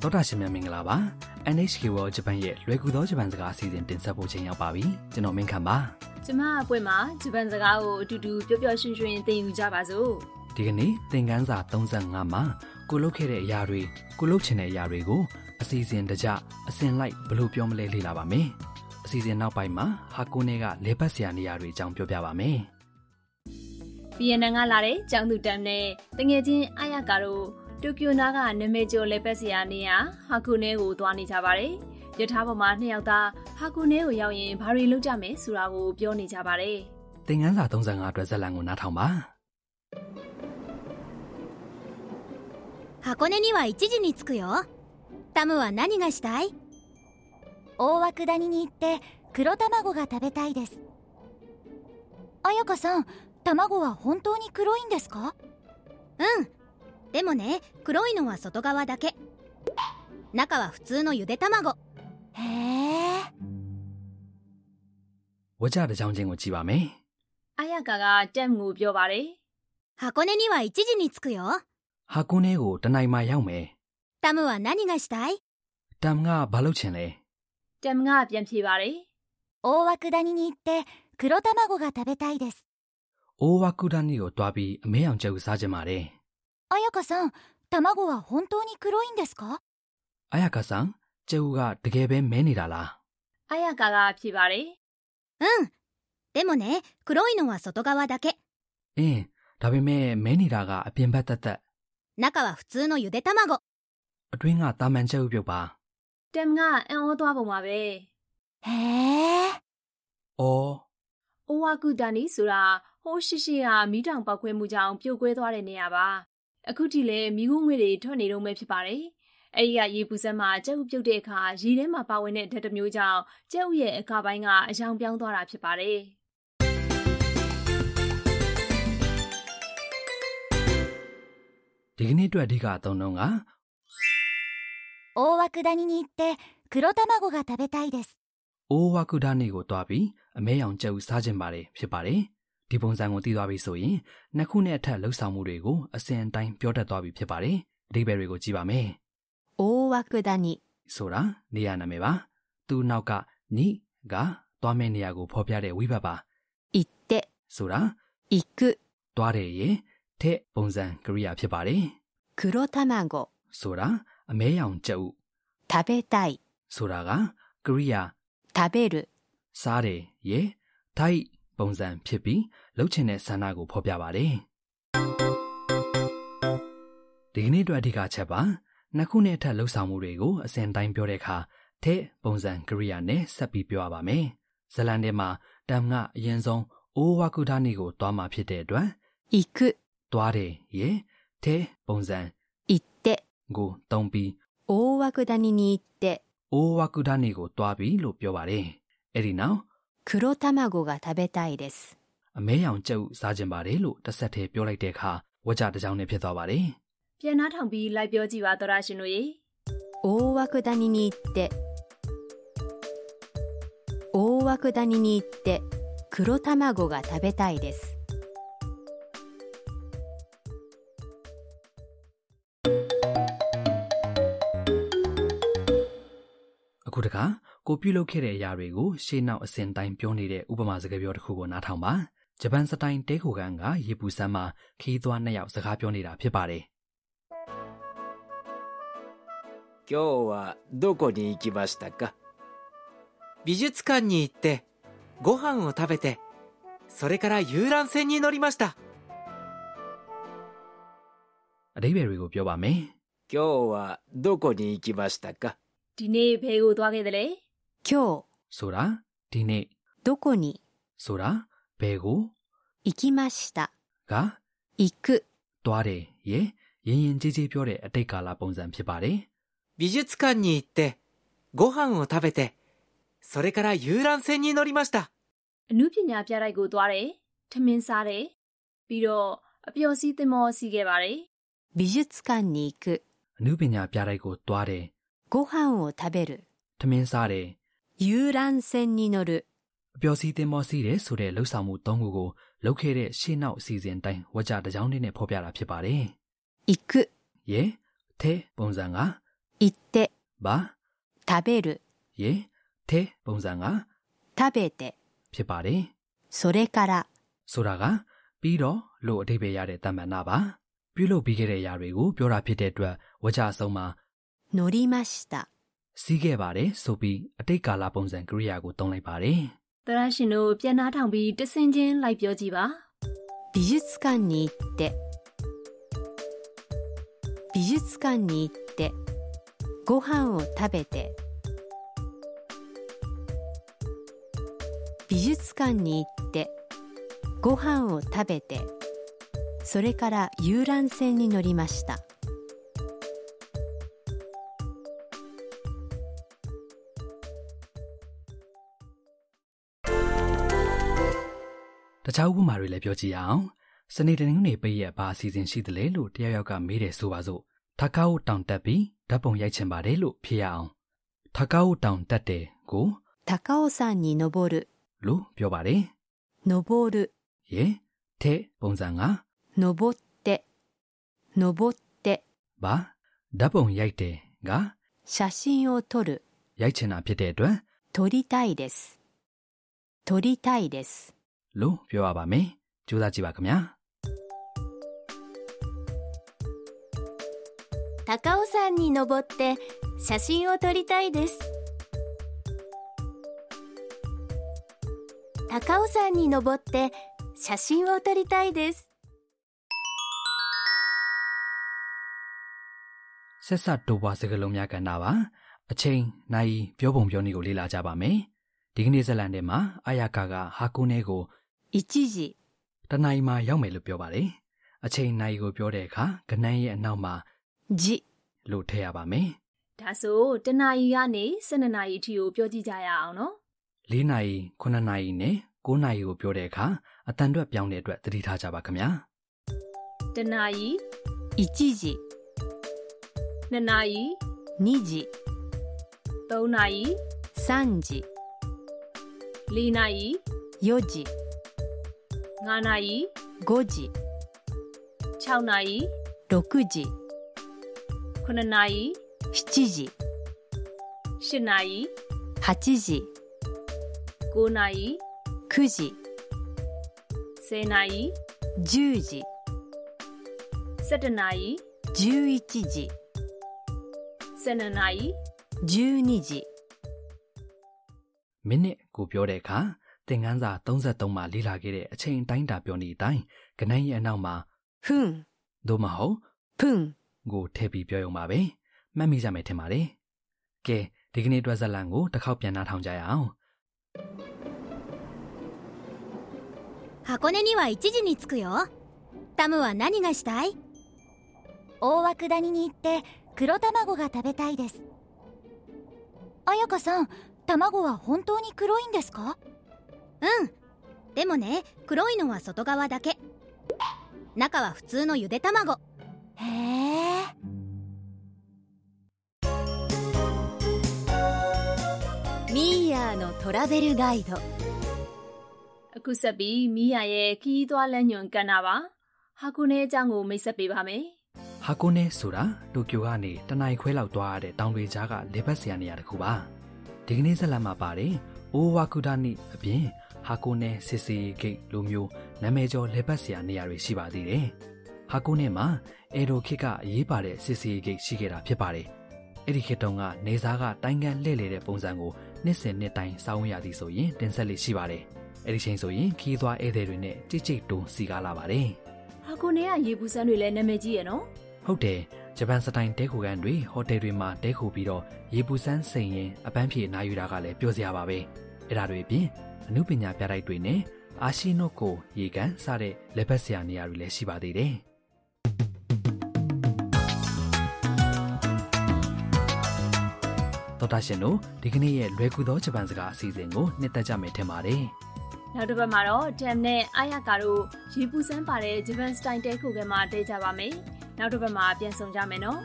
တောတာရှင်များမင်္ဂလာပါ NHK World Japan ရဲ့လွယ်ကူသောဂျပန်စကားအစီအစဉ်တင်ဆက်ဖို့ချိန်ရောက်ပါပြီကျွန်တော်မင်းခမ်းပါ ကျမအပွင့်မှာဂျပန်စကားကိုအတူတူပျော်ပျော်ရွှင်ရွှင်သင်ယူကြပါစို့ ဒီကနေ့သင်ခန်းစာ35မှာကိုလုတ်ခဲ့တဲ့အရာတွေကိုလုတ်ချင်တဲ့အရာတွေကိုအစီအစဉ်တကျအစဉ်လိုက်ဘယ်လိုပြောမလဲလေ့လာပါမယ်အစီအစဉ်နောက်ပိုင်းမှာဟာကိုနေကလေပတ်စရာနေရာတွေအကြောင်းပြောပြပါမယ် ဗီယက်နမ်ကလာတဲ့ကျောင်းသူတမ်နဲ့တငယ်ချင်းအာယကာတို့တိုကျိုနာကနာမည်ကျော်လက်ပတ်စရာနေရာဟာကူနဲကိုသွားနေကြပါတယ်ရထားပေါ်မှာနှစ်ယောက်သားဟာကူနဲကိုရောက်ရင်ဘာတွေလုပ်ကြမယ်ဆိုတာကိုပြောနေကြပါတယ် သင်ခန်းစာ35အတွက်ဇက်လန်ကိုနားထောင်ပါ 箱根には1時に着くよタムは何がしたい大涌谷に行って黒卵が食べたいです彩香さん卵は本当に黒いんですかうんでもね黒いのは外側だけ中は普通のゆで卵へえ ဝကြတစ်ကြောင်းချင်းကိုကြည့်ပါမယ် အာယကာကတမ်ကိုပြောပါတယ် 箱根には1時に着くよ ဟာကိုနေကိုတစ်နိုင်မှရောက်မယ် タムは何がしたい တမ်ကဘာလုပ်ချင်လဲ တမ်ကပြန်ဖြေပါတယ် 大涌谷に行って黒卵が食べたいです အိုဝါကူဒန်နီကိုတွားပြီးအမဲအောင်ကျုပ်စားချင်ပါတယ် 彩香さん卵は本当に黒いんですか အာယကာဆန်ကျဲဦးကတကယ်ပဲမဲနေတာလား အာယကာကဖြေပါတယ် うんでもね黒いのは外側だけ အင်းဒါပေမဲ့မဲနေတာကအပြင်ဘက်တက်တက် 中は普通のゆで卵 အတွင်းကတာမန်ကျဲဦးပြုတ်ပါ တမ်ကအံ့ဩသွားပုံပါပဲ へえ အော် အိုဝါကူတန်နီဆိုတာဟိုးရှိရှိကမီးတောင်ပောက်ခွဲမှုကြောင့်ပြိုကွဲသွားတဲ့နေရာပါအခုထိလည်းမီးခိုးငွေတွေထွက်နေတော့မှဖြစ်ပါတယ်အဲဒီကရေပူစက်မှာကြက်ဥပြုတ်တဲ့အခါရေထဲမှာပါဝင်တဲ့ဓာတ်တစ်မျိုးကြောင့်ကြက်ဥရဲ့အကပိုင်းကအယောင်ပြောင်းသွားတာဖြစ်ပါတယ် ဒီကနေ့အတွက်အဓိကအသုံးတော့က 大涌谷に行って黒卵が食べたいです အိုဝါကူဒန်နီကိုတွားပြီးအမဲအောင်ကျဲဦးစားချင်ပါတယ်ဖြစ်ပါတယ်ဒီပုံစံကိုသိသွားပြီဆိုရင်နှစ်ခုနဲ့အထက်လှုပ်ဆောင်မှုတွေကိုအစဉ်အတိုင်းပြောတတ်သွားပြီဖြစ်ပါတယ်အဓိပ္ပာယ်တွေကိုကြည့်ပါမယ် 大涌谷 ဆိုတာနေရာနာမည်ပါသူ့နောက်ကညီကတွားမယ့်နေရာကိုဖော်ပြတဲ့ဝိဘတ်ပါ 行って ဆိုတာ 行く တွားတယ်ရင်တဲ့ပုံစံကရိယာဖြစ်ပါတယ် 黒卵 ဆိုတာအမဲရောင်ကြက်ဥ 食べたい ဆိုတာကကရိယာ 食べる စားတယ်ရေထိုက်ပုံစံဖြစ်ပြီးလှုပ်ချင်တဲ့ဆန္ဒကိုဖော်ပြပါတယ်ဒီကနေ့အတွက်အဓိကအချက်ပါနှစ်ခုနဲ့အထက်လှုပ်ဆောင်မှုတွေကိုအစဉ်တိုင်းပြောတဲ့အခါတဲ့ပုံစံကရိယာနဲ့ဆက်ပြီးပြောရပါမယ်ဇလန်ထဲမှာတမ်ကအရင်ဆုံးအိုဝါကူဒါနီကိုတွားမှာဖြစ်တဲ့အတွက် 行く တွားတယ်ရေတဲ့ပုံစံ 行って ကိုတုံးပြီး 大涌谷に行って အိုဝါကူဒါနီကိုတွားပြီလို့ပြောပါတယ်။အဲ့ဒီနောက် 黒卵が食べたいです အမဲရောင်ကြက်ဥစားကျင်ပါတယ်လို့တစ်ဆက်တည်းပြောလိုက်တဲ့အခါဝကြတစ်ကြောင်းနဲ့ဖြစ်သွားပါတယ် ပြန်နှားထောင်ပြီးလိုက်ပြောကြည့်ပါသောရရှင်တို့ရေ 大涌谷に行って大涌谷に行って黒卵が食べたいです ။အခုတခါကိုပြုတ်လုပ်ခဲ့တဲ့အရာတွေကိုရှေ့နောက်အစဉ်တိုင်းပြောနေတဲ့ဥပမာစကားပြောတစ်ခုကိုနားထောင်ပါ။ဂျပန်စတိုင်တဲခိုကန်ကရေပူစမ်းမှာခီးသွွားနှစ်ယောက်စကားပြောနေတာဖြစ်ပါတယ် 今日はどこに行きましたか美術館に行ってご飯を食べてそれから遊覧船に乗りました ။အတိပ္ပယ်တွေကိုပြောပါမယ် 今日はどこに行きましたか ဒီနေ့ဘယ်ကိုသွားခဲ့သလဲ 今日 ။ဆိုတာဒီနေ့ どこに ဆိုတာဘယ်ကို 行きました က 行く တွားတယ်ရေရင်ရင်ကြီးကြီးပြောတဲ့အတိတ်ကာလပုံစံဖြစ်ပါတယ်။ 美術館に行ってご飯を食べてそれから遊覧船に乗りました အမှုပညာပြတိုက်ကိုသွားတယ်ထမင်းစားတယ်ပြီးတော့အပျော်စီးသင်္ဘောစီးခဲ့ပါတယ် 美術館に行く အနုပညာပြတိုက်ကိုတွားတယ် ご飯を食べる ထမင်းစားတယ် 遊覧船に乗る အပျော်စီးသင်္ဘောစီးတယ်ဆိုတဲ့လှုပ်ဆောင်မှု၃ခုကိုလုပ်ခဲ့တဲ့ရှေ့နောက်အစီအစဉ်တိုင်းဝကြတစ်ကြောင်းလေးနဲ့ဖော်ပြတာဖြစ်ပါတယ် 行く ။ယေထဲပုံစံက 行って、 ဘာ 食べる、 ရေထဲပုံစံက 食べて、 ဖြစ်ပါတယ် それから、 ဆိုတာကပြီးတော့လို့အဓိပ္ပာယ်ရတဲ့တမန်နာပါပြုလုပ်ပြီးခဲ့တဲ့ຢာတွေကိုပြောတာဖြစ်တဲ့အတွက်ဝကြအဆုံးမှာ 乗りました。 စီးခဲ့ပါတယ်ဆိုပြီးအတိတ်ကာလပုံစံကရိယာကိုသုံးလိုက်ပါတယ် သရရှင်တို့ပြန်နားထောင်ပြီးတဆင်ချင်းလိုက်ပြောကြည့်ပါ 美術館に行って、美術館に行って、ご飯を食べて、美術館に行って、ご飯を食べて、それから遊覧船に乗りました。 တခြားဥပမာတွေလည်းပြောကြည့်ရအောင်စနေတနင်္ဂနွေပိတ်ရက်ဘာအစီအစဉ်ရှိသလဲလို့တယောက်ယောက်ကမေးတယ်ဆိုပါစို့ထကားကိုတောင်တက်ပြီးဓာတ်ပုံရိုက်ချင်ပါတယ်လို့ဖြေရအောင်ထကားကိုတောင်တက်တယ်ကို 高尾山に登る、 လို့ပြောပါတယ် 登る、 ရေထဲပုံစံက 登って、登って、 ဘာဓာတ်ပုံရိုက်တယ်က 写真を撮る、 ရိုက်ချင်တာဖြစ်တဲ့အတွက် 撮りたいです。撮りたいです。 လို့ပြောရပါမယ်ကြိုးစားကြည့်ပါခင်ဗျာ 高尾山に登って写真を撮りたいです高尾山に登って写真を撮りたいです ဆက်ဆက်တိုးပွားစကားလုံးများကဏ္ဍပါအချိန်နိုင်ပြောပုံပြောနည်းကိုလေ့လာကြပါမယ်ဒီကနေ့ဇတ်လန်ထဲမှာအာယာကာကဟာကူနဲကို 一時、 တနင်္လာမှာရောက်မယ်လို့ပြောပါတယ်အချိန်နိုင်ကိုပြောတဲ့အခါကဏ္ဍရဲ့အနောက်မှာ じ、 လို့ထည့်ရပါမယ် ဒါဆိုတနာရီကနေ12နာရီအထိကိုပြောကြည့်ကြရအောင်နော် ၄နိုင်9နိုင်နဲ့9နိုင်ကိုပြောတဲ့အခါအတန်အတွက်ပြောင်းတဲ့အတွက်သတိထားကြပါခင်ဗျာ တနာရီ 一時、 2နာရီ 二時、 3နာရီ 三時、 4နာရီ 四時、 5နာရီ 五時、 6နာရီ 六時、 9နာရီ 七時、 8နာရီ 八時、 9နာရီ 九時、 10နာရီ 十時、 17နာရီ 十一時、 12နာရီ 十二時、 မိနစ်ကိုပြောတဲ့အခါသင်ခန်းစာ33မှာလေ့လာခဲ့တဲ့အချိန်တိုင်းတာပြောနေတဲ့အတိုင်းကဏ္ဍရဲ့အနောက်မှာ 分、 သို့မဟုတ် 分、 ကိုထည့်ပြီးပြောရုံပါပဲမှတ်မိကြမယ်ထင်ပါတယ်ကဲဒီကနေ့အတွက်ဇာတ်လမ်းကိုတစ်ခေါက်ပြန်နှာထောင်ကြရအောင် 箱根には1時に着くよタムは何がしたい大涌谷に行って黒卵が食べたいです彩香さん卵は本当に黒いんですかうんでもね黒いのは外側だけ中は普通のゆで卵へえミーヤーのトラベルガイド အခုဆက်ပြီးမိယာရဲ့ခီးသွွားလမ်းညွန်ကဏ္ဍပါဟာကူနဲအကြောင်းကိုမိတ်ဆက်ပေးပါမယ် ဟာကိုနဲဆိုတာတိုကျိုကနေတနင်္လာခွဲလောက်သွားရတဲ့တောင်တွေကြားကလေပတ်စရာနေရာတစ်ခုပါဒီကနေ့ဇာတ်လမ်းမှာပါတယ်အိုဝါကူဒာနိအပြင်ဟာကိုနဲစစ်စီဂိတ်လိုမျိုးနာမည်ကျော်လေပတ်စရာနေရာတွေရှိပါသေးတယ်ဟာကိုနဲမှာအေရိုခေတ်ကအရေးပါတဲ့စစ်စီဂိတ်ရှိခဲ့တာဖြစ်ပါတယ်အဲ့ဒီခေတ်တုန်းကနေစားကတိုင်းကန်လှည့်လည်တဲ့ပုံစံကိုနှစ်စင်နှစ်တိုင်းစောင်းရသည်ဆိုရင်တင်ဆက်လေးရှိပါတယ် အဲ့ဒီချိန်ဆိုရင်ခီးသွားဧည့်သည်တွေနဲ့ကြိတ်ကြိတ်တုံစီကားလာပါတယ် ဟာကူနဲကရေပူစမ်းတွေလည်းနာမည်ကြီးရယ်နော် ။ဟုတ်တယ်ဂျပန်စတိုင်တဲခိုကန်တွေဟိုတယ်တွေမှာတဲခိုပြီးတော့ရေပူစမ်းစိန်ရင်အပန်းဖြေနားယူတာကလည်းပြောစရာပါပဲ။အဲ့ဒါတွေအပြင်အမှုပညာပြတိုက်တွေနဲ့အာရှီနိုကိုရေကန်စတဲ့လက်ပတ်ဆရာနေရာတွေလည်းရှိပါသေးတယ်။တော်တာရှင်တို့ဒီကနေ့ရဲ့လွယ်ကူသောဂျပန်စကားအစီအစဉ်ကိုနှစ်သက်ကြမယ်ထင်ပါတယ်။ နောက်တစ်ပတ်မှာတော့တမ်နဲ့အာယာကာတို့ရေပူစမ်းပါတဲ့ဂျပန်စတိုင်တဲခုကဲမှာတဲကြပါမယ်နောက်တစ်ပတ်မှာပြန်ဆောင်ကြမယ်နော်